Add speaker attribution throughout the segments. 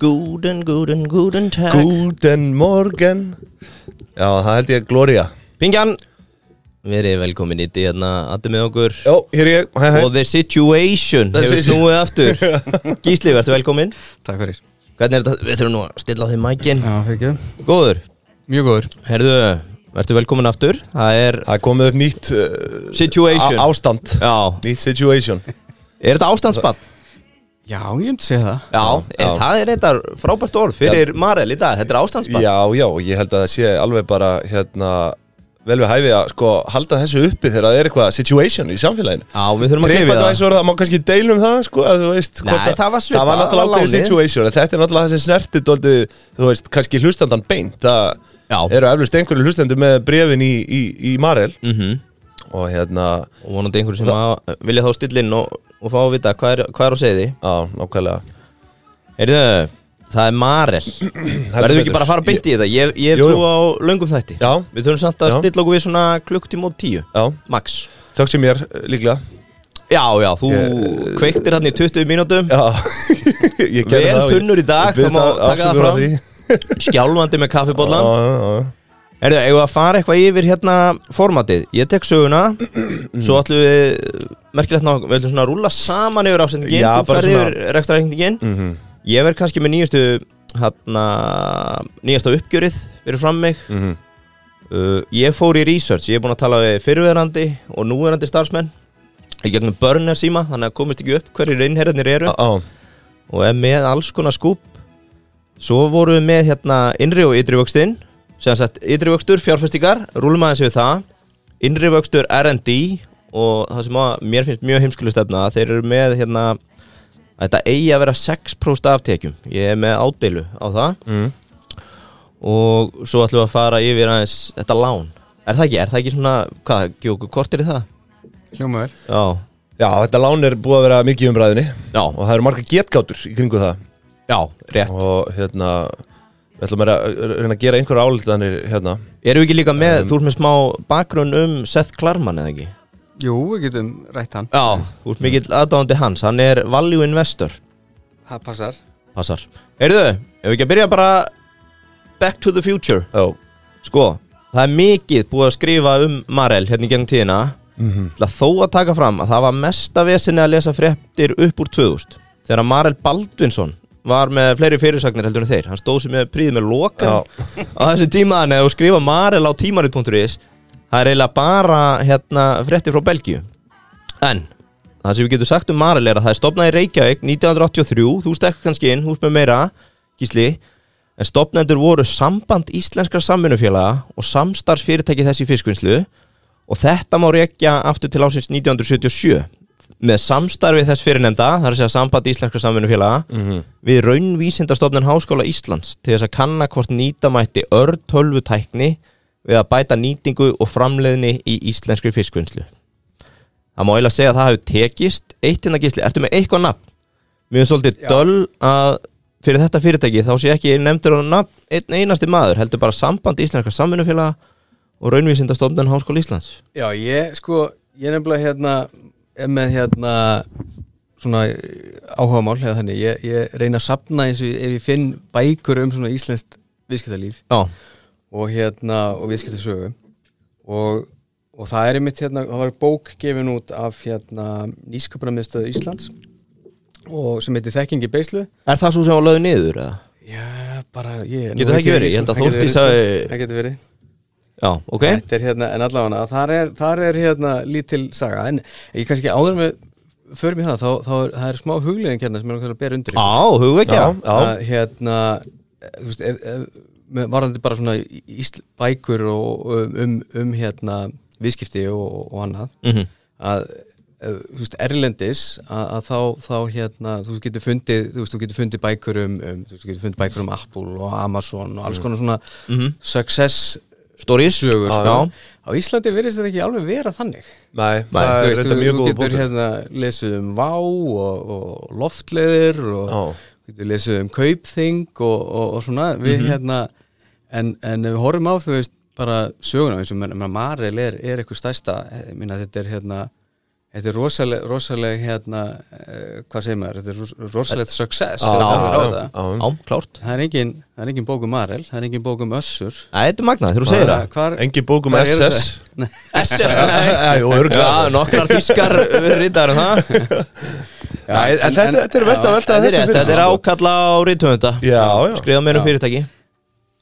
Speaker 1: Guten, guten, guten tag
Speaker 2: Guten Morgen Já, það held ég Gloria
Speaker 1: Pingjan Verið velkomin í díðna Addi með okkur
Speaker 2: Jó, hér er ég, hæ hæ
Speaker 1: Og the situation
Speaker 2: The
Speaker 1: Hefur
Speaker 2: situ-
Speaker 1: snúið aftur Gísli, verður velkomin
Speaker 3: Takk fyrir
Speaker 1: Hvernig er þetta? Við þurfum nú að stilla þig mækin
Speaker 3: Já, fyrir ekki
Speaker 1: Góður
Speaker 3: Mjög góður
Speaker 1: Herðu, verður velkomin aftur Það er
Speaker 2: Það er komið upp nýtt uh,
Speaker 1: situation
Speaker 2: á- Ástand
Speaker 1: Já
Speaker 2: Nýtt situation
Speaker 1: Er þetta ástandsbann?
Speaker 3: Já, ég myndi segja það
Speaker 1: Já,
Speaker 2: Já.
Speaker 1: En það er þetta frábært orð fyrir Marel í dag Þetta er ástandsbann
Speaker 2: Já, já, ég held að það sé alveg bara hérna vel við hæfi að sko halda þessu uppi þegar það er eitthvað situation í samfélaginu
Speaker 1: Já, við þurfum að
Speaker 2: Dreipandi
Speaker 1: greifa
Speaker 2: væs
Speaker 1: það
Speaker 2: voru það, má kannski deilum það sko að þú veist
Speaker 1: Nei,
Speaker 2: hvort að-
Speaker 1: það var svipað,
Speaker 2: Það var
Speaker 1: það var
Speaker 2: náttúrulega ákveðið
Speaker 1: lánið.
Speaker 2: situation en þetta er náttúrulega það sem snerti dóldi, þú veist, kannski hlustandan beint það
Speaker 1: Já
Speaker 2: eru eflust einhverju hlustendur með brefin í, í, í Marel
Speaker 1: Mhm.
Speaker 2: og hérna,
Speaker 1: Og vonandi einhverjum sem að vilja þá stilla inn og, og fá að vita hvað er, hvað er á segði
Speaker 2: á, nákvæmlega
Speaker 1: Heyrðu, það er Marel Verðum við ekki bara að fara beint í þetta Ég, ég
Speaker 2: Jú,
Speaker 1: trú
Speaker 2: jú.
Speaker 1: á löngum þætti
Speaker 2: Já,
Speaker 1: Við þurfum samt að
Speaker 2: Já.
Speaker 1: stilla okkur við svona klukktíma og tíu
Speaker 2: já,
Speaker 1: Max
Speaker 2: þökk sem ég er líklega
Speaker 1: Já, já, þú
Speaker 2: Ég-
Speaker 1: eh, kveiktir hann í 20 mínútum
Speaker 2: Já, ég gerði
Speaker 1: Vel
Speaker 2: það og ég-
Speaker 1: þunnur í dag,
Speaker 2: ég biðst
Speaker 1: það má
Speaker 2: að-
Speaker 1: taka það
Speaker 2: afsökunar á
Speaker 1: fram.
Speaker 2: því.
Speaker 1: Skjálfandi með
Speaker 2: Já,
Speaker 1: kaffibóllan
Speaker 2: já, já
Speaker 1: Erðu, eigum við að fara eitthvað yfir hérna formatið Ég tek söguna Svo ætlum við, merkilegt ná Við ætlum svona að rúla saman yfir ásendingin
Speaker 2: Já,
Speaker 1: Þú
Speaker 2: bara
Speaker 1: ferði
Speaker 2: svona-
Speaker 1: yfir rektarreikningin
Speaker 2: Mhm.
Speaker 1: Ég verð kannski með nýjastu hérna, Nýjasta uppgjörið Fyrir fram mig
Speaker 2: Mhm.
Speaker 1: uh, Ég fór í research, ég er búin að tala við Fyrirverandi og núverandi starfsmenn Í gegnum börnir síma, þannig að komist ekki upp Hverjir innherjarnir eru
Speaker 2: Á, á,
Speaker 1: og er með alls konar skúp svo vorum við með hérna innri og ytri vöxtinn sem sagt ytri vöxtur fjárfestingar, rúlum aðeins yfir það innri vöxtur R&D og það sem að mér finnst mjög heimskulu stefna þeir eru með hérna að þetta eigi að vera 6% aftekjum ég er með ádeilu á það
Speaker 2: mm.
Speaker 1: og svo ætlum við að fara yfir aðeins þetta lán er það ekki, er það ekki svona, hvað, gefur okkur kortir í það?
Speaker 3: Hljómaður
Speaker 1: Já,
Speaker 2: Já, þetta lán er búið að vera mikið í umræðinni
Speaker 1: já,
Speaker 2: og það eru marga getgátur í kringu það
Speaker 1: já, rétt
Speaker 2: og hérna við ætlum að reyna að gera einhverja álítanir hérna
Speaker 1: Erum við ekki líka með, þú ert með smá bakgrunn um Seth Klarman eða ekki?
Speaker 3: Jú, við getum rætt hann
Speaker 1: Já, þú ert mikill aðdáðandi hans Hann er value investor
Speaker 3: Það passar
Speaker 1: Passar Heyrðu, ef við ekki að byrja bara Back to the future
Speaker 2: Já,
Speaker 1: Sko, það er mikið búið að skrifa um Marel hérna í gegnum tíðina
Speaker 2: Mhm.
Speaker 1: Til að þó að taka fram að það var mesta vesinni að lesa fréttir upp úr 2000 Þegar að Marel Baldvinsson var með fleiri fyrirsagnir heldur en þeir Hann stóð sem með príð með
Speaker 2: já,
Speaker 1: lokan á þessu tíma Þannig að þú skrifa Marel á tímarit.is Það er eiginlega bara hérna, frétti frá Belgíu En það sem við getum sagt um Marel er að það er stopnað í Reykjavík 1983 Þú stekkur kannski inn, hús með meira Gísli En stopnendur voru samband íslenskar samvinnufélaga og samstarfsfyrirtæki þessi fiskvinnslu og þetta má rekja aftur til ásins 1977 með samstarfið þess fyrirnefnda, þar að segja samband íslenskar samvinnufélaga við raunvísindastofnun Háskóla Íslands til þess að kanna hvort nýta mætti ör tölvutækni við að bæta nýtingu og framleiðni í íslenskri fiskvinnslu. Það má eiginlega segja að það hefur tekist. Eitt innan gísli, ertu með eitthvað nafn? Mér finnst svolítið
Speaker 3: Já.
Speaker 1: döl að fyrir þetta fyrirtæki þá sé ekki nefndur á nafn einn einasti maður, heldur bara samband íslenskar samvinnufélaga og raunvísindastofnun Háskóla Íslands.
Speaker 3: Já, ég sko Ég er nefnilega hérna Er með hérna Svona áhugamál Eða þannig Ég, ég reyna að sapna eins og Ef ég finn bækur um svona íslenskt viðskiptalíf
Speaker 1: Já,
Speaker 3: og hérna og viðskiptasögu og, og það er einmitt hérna, það var bók gefin út af hérna nýsköpunarmiðstöðu Íslands og sem heitir Þekkingi Beislu
Speaker 1: er það svo sem var löðu niður? Eða?
Speaker 3: Já, bara ég
Speaker 1: Getur það ekki verið? Ég held að Þórdís hafi-
Speaker 3: Það getur verið
Speaker 1: Já, ok.
Speaker 3: Þetta er hérna, en allavega þar er, þar er hérna lítil saga en ég kannski áður með förum í það, þá, þá er, það er smá hugleðing hérna sem er okkar að bera undir í.
Speaker 1: Á, hugveikja.
Speaker 2: já, já.
Speaker 3: að hérna þú veist, ef, ef, með varðandi bara svona ísl, bækur og um, um, um hérna viðskipti og, og annað
Speaker 1: Mhm.
Speaker 3: að ef, þú veist, erlendis að, að þá, þá hérna þú getur fundið, þú veist, þú getur fundið bækur um, um þú veist, þú getur fundið bækur um Apple og Amazon og
Speaker 2: Mhm.
Speaker 3: alls konar svona success
Speaker 1: Stories.
Speaker 3: sögur
Speaker 1: Já,
Speaker 3: sko.
Speaker 1: já.
Speaker 3: á Íslandi verðist þetta ekki alveg vera þannig
Speaker 2: Nei,
Speaker 3: Þú
Speaker 2: það er
Speaker 3: veist,
Speaker 2: þetta
Speaker 3: þú-
Speaker 2: mjög góð
Speaker 3: Þú
Speaker 2: bútur
Speaker 3: getur hérna lesið um Vá og, og loftleðir og
Speaker 2: Já.
Speaker 3: þú getur lesið um Kaupþing og, og, og svona við
Speaker 2: Mhm.
Speaker 3: hérna en, en ef við horfum á þú veist bara söguna eins og menn, menn, Marel er, er eitthvað stærsta eh, minna, þetta er hérna Þetta er rosaleg, rosaleg hérna, uh, hvað segir maður, þetta er ros- rosalegt success
Speaker 2: Já,
Speaker 3: þetta
Speaker 1: já,
Speaker 3: er á
Speaker 2: Eh, já,
Speaker 3: það.
Speaker 2: já.
Speaker 1: Á, klárt
Speaker 3: Það er engin, það er engin bók um Arel, það er engin bók um Össur
Speaker 1: Æ, þetta er magnað, þegar þú segir það
Speaker 3: Hvar,
Speaker 2: Engin bók um
Speaker 3: hvar eru
Speaker 2: SS
Speaker 3: þau? Nei,
Speaker 1: SS,
Speaker 2: Já, jú,
Speaker 1: nei
Speaker 2: örugglega.
Speaker 1: Já, nokkrar þískar ríttar um það
Speaker 3: já,
Speaker 2: Nei, en þetta- þetta er vert að
Speaker 3: já,
Speaker 2: velta
Speaker 1: Þetta er
Speaker 2: þessu
Speaker 1: rétt,
Speaker 2: fyrir
Speaker 1: þetta
Speaker 2: sér,
Speaker 1: er
Speaker 2: sko.
Speaker 1: ákalla á rítumönda
Speaker 2: Já, já.
Speaker 1: Skrifa mér um
Speaker 3: Já.
Speaker 1: fyrirtæki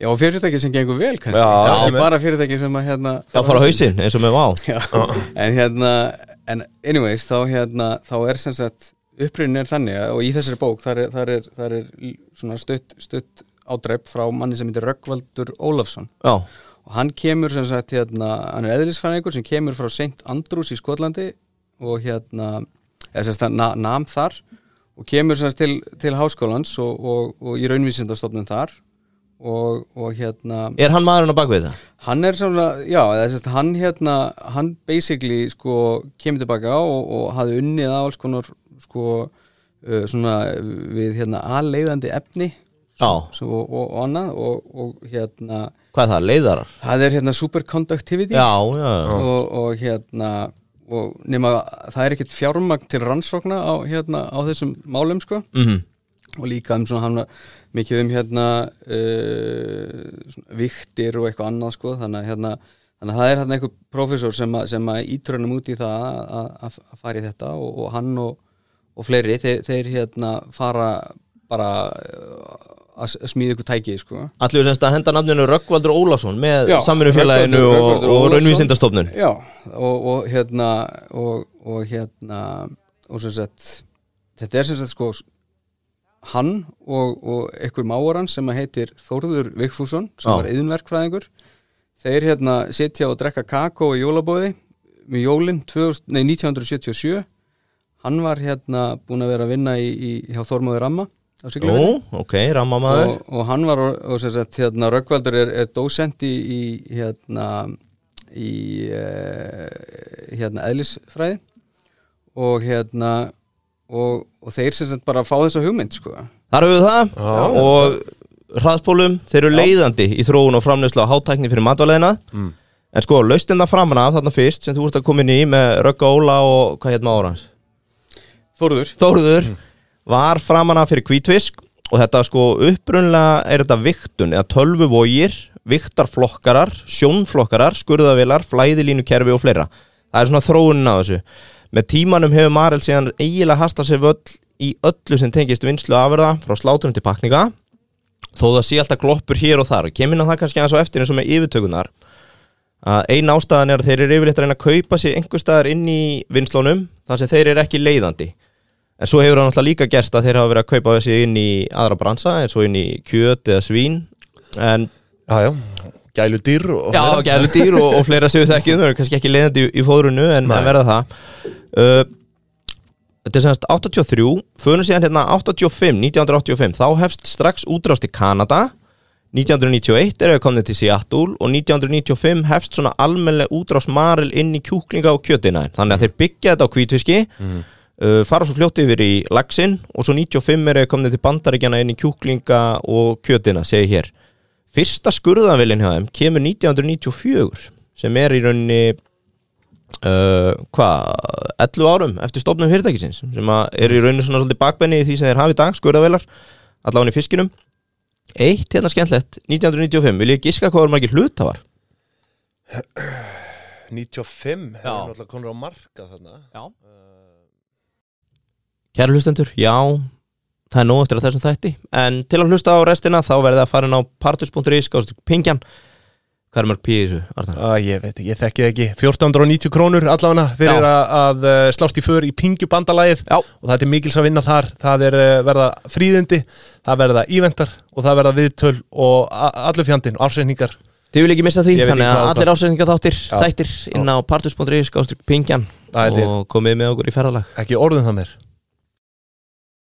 Speaker 3: Já, og fyrirtæki sem gengur vel kannski
Speaker 2: Já,
Speaker 3: Ekki
Speaker 2: einmitt.
Speaker 3: bara fyrirtæki sem að hérna
Speaker 1: Já, fara á hausinn, eins og með vá
Speaker 3: Já, en hérna en anyways, þá hérna þá er sem sagt, upprýnin er þannig að- og í þessari bók, þar er, þar er, þar er l- svona stutt, stutt ádreip frá manni sem heitir Röggvaldur Ólafsson
Speaker 1: Já,
Speaker 3: og hann kemur sem sagt hérna, hann er eðlisfræðingur sem kemur frá St. Andrews í Skotlandi og hérna, eða sem sagt hann na- nam þar og kemur sem sagt til, til háskólans og, og, og í raunvísindastofnun þar og, og hérna
Speaker 1: er hann maðurinn á bakvið það?
Speaker 3: hann er svona, já, eða sem sagt hann hérna, hann basically sko kemur tilbaka og, og hafði unnið að alls konar sko uh, svona við hérna aðleiðandi efni
Speaker 1: Já,
Speaker 3: svo, og, og annað og, og hérna
Speaker 1: hvað er það, leiðarar?
Speaker 3: Það er hérna superconductivity
Speaker 1: Já, já, já
Speaker 3: og, og hérna og nema það er ekkert fjármagn til rannsókna á, hérna, á þessum málum sko
Speaker 1: Mhm.
Speaker 3: og líka um svona hann var mikið um hérna uh, svona viktir og eitthvað annað sko þannig að hérna Þannig að það er hérna einhver profesor sem að, sem að ítrönum út í það að, að, að fara í þetta og, og hann og, og fleiri, þeir, þeir hérna fara bara uh, að s- að smíða ykkur tæki sko.
Speaker 1: Allir við semst að henda nafninu Röggvaldur Ólafsson með
Speaker 3: Já,
Speaker 1: samvinnufélaginu
Speaker 3: Rögnvaldur-
Speaker 1: og,
Speaker 3: Rögnvaldur
Speaker 1: og
Speaker 3: Ólafsson.
Speaker 1: raunvísindastofnun
Speaker 3: Já, og, og hérna og, og hérna og sem sagt þetta er sem sagt sko hann og, og einhver mávaran sem að heitir Þórður Vigfússon sem
Speaker 1: Já.
Speaker 3: var yðinverkfræðingur þeir hérna sitja og drekka kakó í jólabóði með jólin 2000, nei, 1977 hann var hérna búin að vera að vinna í, í, hjá Þormóður Ramma á
Speaker 1: Jú,
Speaker 3: Siglufirði
Speaker 1: ok, rammamaður
Speaker 3: og, og hann var og, og sem sagt, hérna, Röggvaldur er, er dósent í, í hérna í eh, hérna eðlisfræði og hérna og, og þeir sem sagt bara fá þessa hugmynd sko.
Speaker 1: Þar höfum við það og hraðspólum, þeir eru leiðandi í þróun og framleyslu á hátækni fyrir matvalegina
Speaker 3: Mm.
Speaker 1: en sko, laustin það framan af þarna fyrst sem þú ert að koma inn í með Rögga Óla og hvað hérna ára hans?
Speaker 3: Þorður
Speaker 1: Þórður var framan af fyrir kvítfisk og þetta sko upprunlega er þetta viktun eða tölvuvógir, viktarflokkarar, sjónflokkarar, skurðavilar, flæðilínukerfi og fleira. Það er svona þróunin á þessu. Með tímanum hefur Marel síðan eiginlega hastað sér völl í öllu sem tengist vinslu afurða frá slátunum til pakninga þó það sé alltaf gloppur hér og þar kemur inn á það kannski aðeins á eftir eins og með yfirtökunar að ein ástæðan er að þeir eru yfirleitt að reyna að kaupa sig einhver staðar inn í vinslónum þar sem þeir eru ekki leiðandi en svo hefur það náttúrulega líka gerst að þeir hafa verið að kaupa sig inn í aðra bransa eins og inn í kjöt eða svín en
Speaker 2: Já, já, gælu dýr og
Speaker 1: já,
Speaker 2: fleira.
Speaker 1: gælu dýr og, og fleira sem við þekkjum þau eru kannski ekki leiðandi í, í fóðrunu en,
Speaker 2: Nei.
Speaker 1: en verða það uh, Þetta er semast 83 fyrir síðan hérna 85, 1985 þá hefst strax útrást í Kanada 1991 er við komnið til Seattle og 1995 hefst svona almennileg útrás maril inn í kjúklinga og kjötina þannig að þeir byggja þetta á kvítfiski
Speaker 2: Mhm.
Speaker 1: uh, fara svo fljótt yfir í laxin og svo 95 er við komnið til bandaríkjana inn í kjúklinga og kjötina segi hér fyrsta skurðanvilin hjá þeim kemur 1994 sem er í rauninni uh, hvað, 11 árum eftir stofnum fyrirtækisins sem að er í rauninni svona svolítið bakbenni í því sem þeir hafa í dag skurðavilar, allavega í fiskinum Eitt hérna skemmtlegt, 1995 Vil ég giska hvað voru margir hlutáar?
Speaker 2: 95 hefur
Speaker 1: Já.
Speaker 2: náttúrulega konur á marka þarna
Speaker 1: Já
Speaker 2: uh,
Speaker 1: Kæra hlustendur, já Það er nóg eftir að þessum þætti En til að hlusta á restina þá verðið að fara inn á partus.is Gáðstu pingjan Hvað er mörg pí í þessu, Arnar?
Speaker 2: Æ, ég veit ekki, ég þekki það ekki 1490 krónur allavega fyrir
Speaker 1: Já.
Speaker 2: að, að eh, slást í för í pingjubandalagið
Speaker 1: Já.
Speaker 2: og það er mikils að vinna þar það er eh, verða fríðindi, það verða íventar og það verða viðtöl og a- allur fjandinn, ársreiningar
Speaker 1: Þið vil ekki missa því,
Speaker 2: Ég veit
Speaker 1: þannig
Speaker 2: ekki
Speaker 1: að
Speaker 2: hvað
Speaker 1: allir
Speaker 2: þetta-
Speaker 1: ásendinga þáttir
Speaker 2: Já.
Speaker 1: Þættir inn á partus.is Gáðstu pingjan
Speaker 2: Það er
Speaker 1: Og komið með okkur í ferðalag
Speaker 2: ekki orðum það mér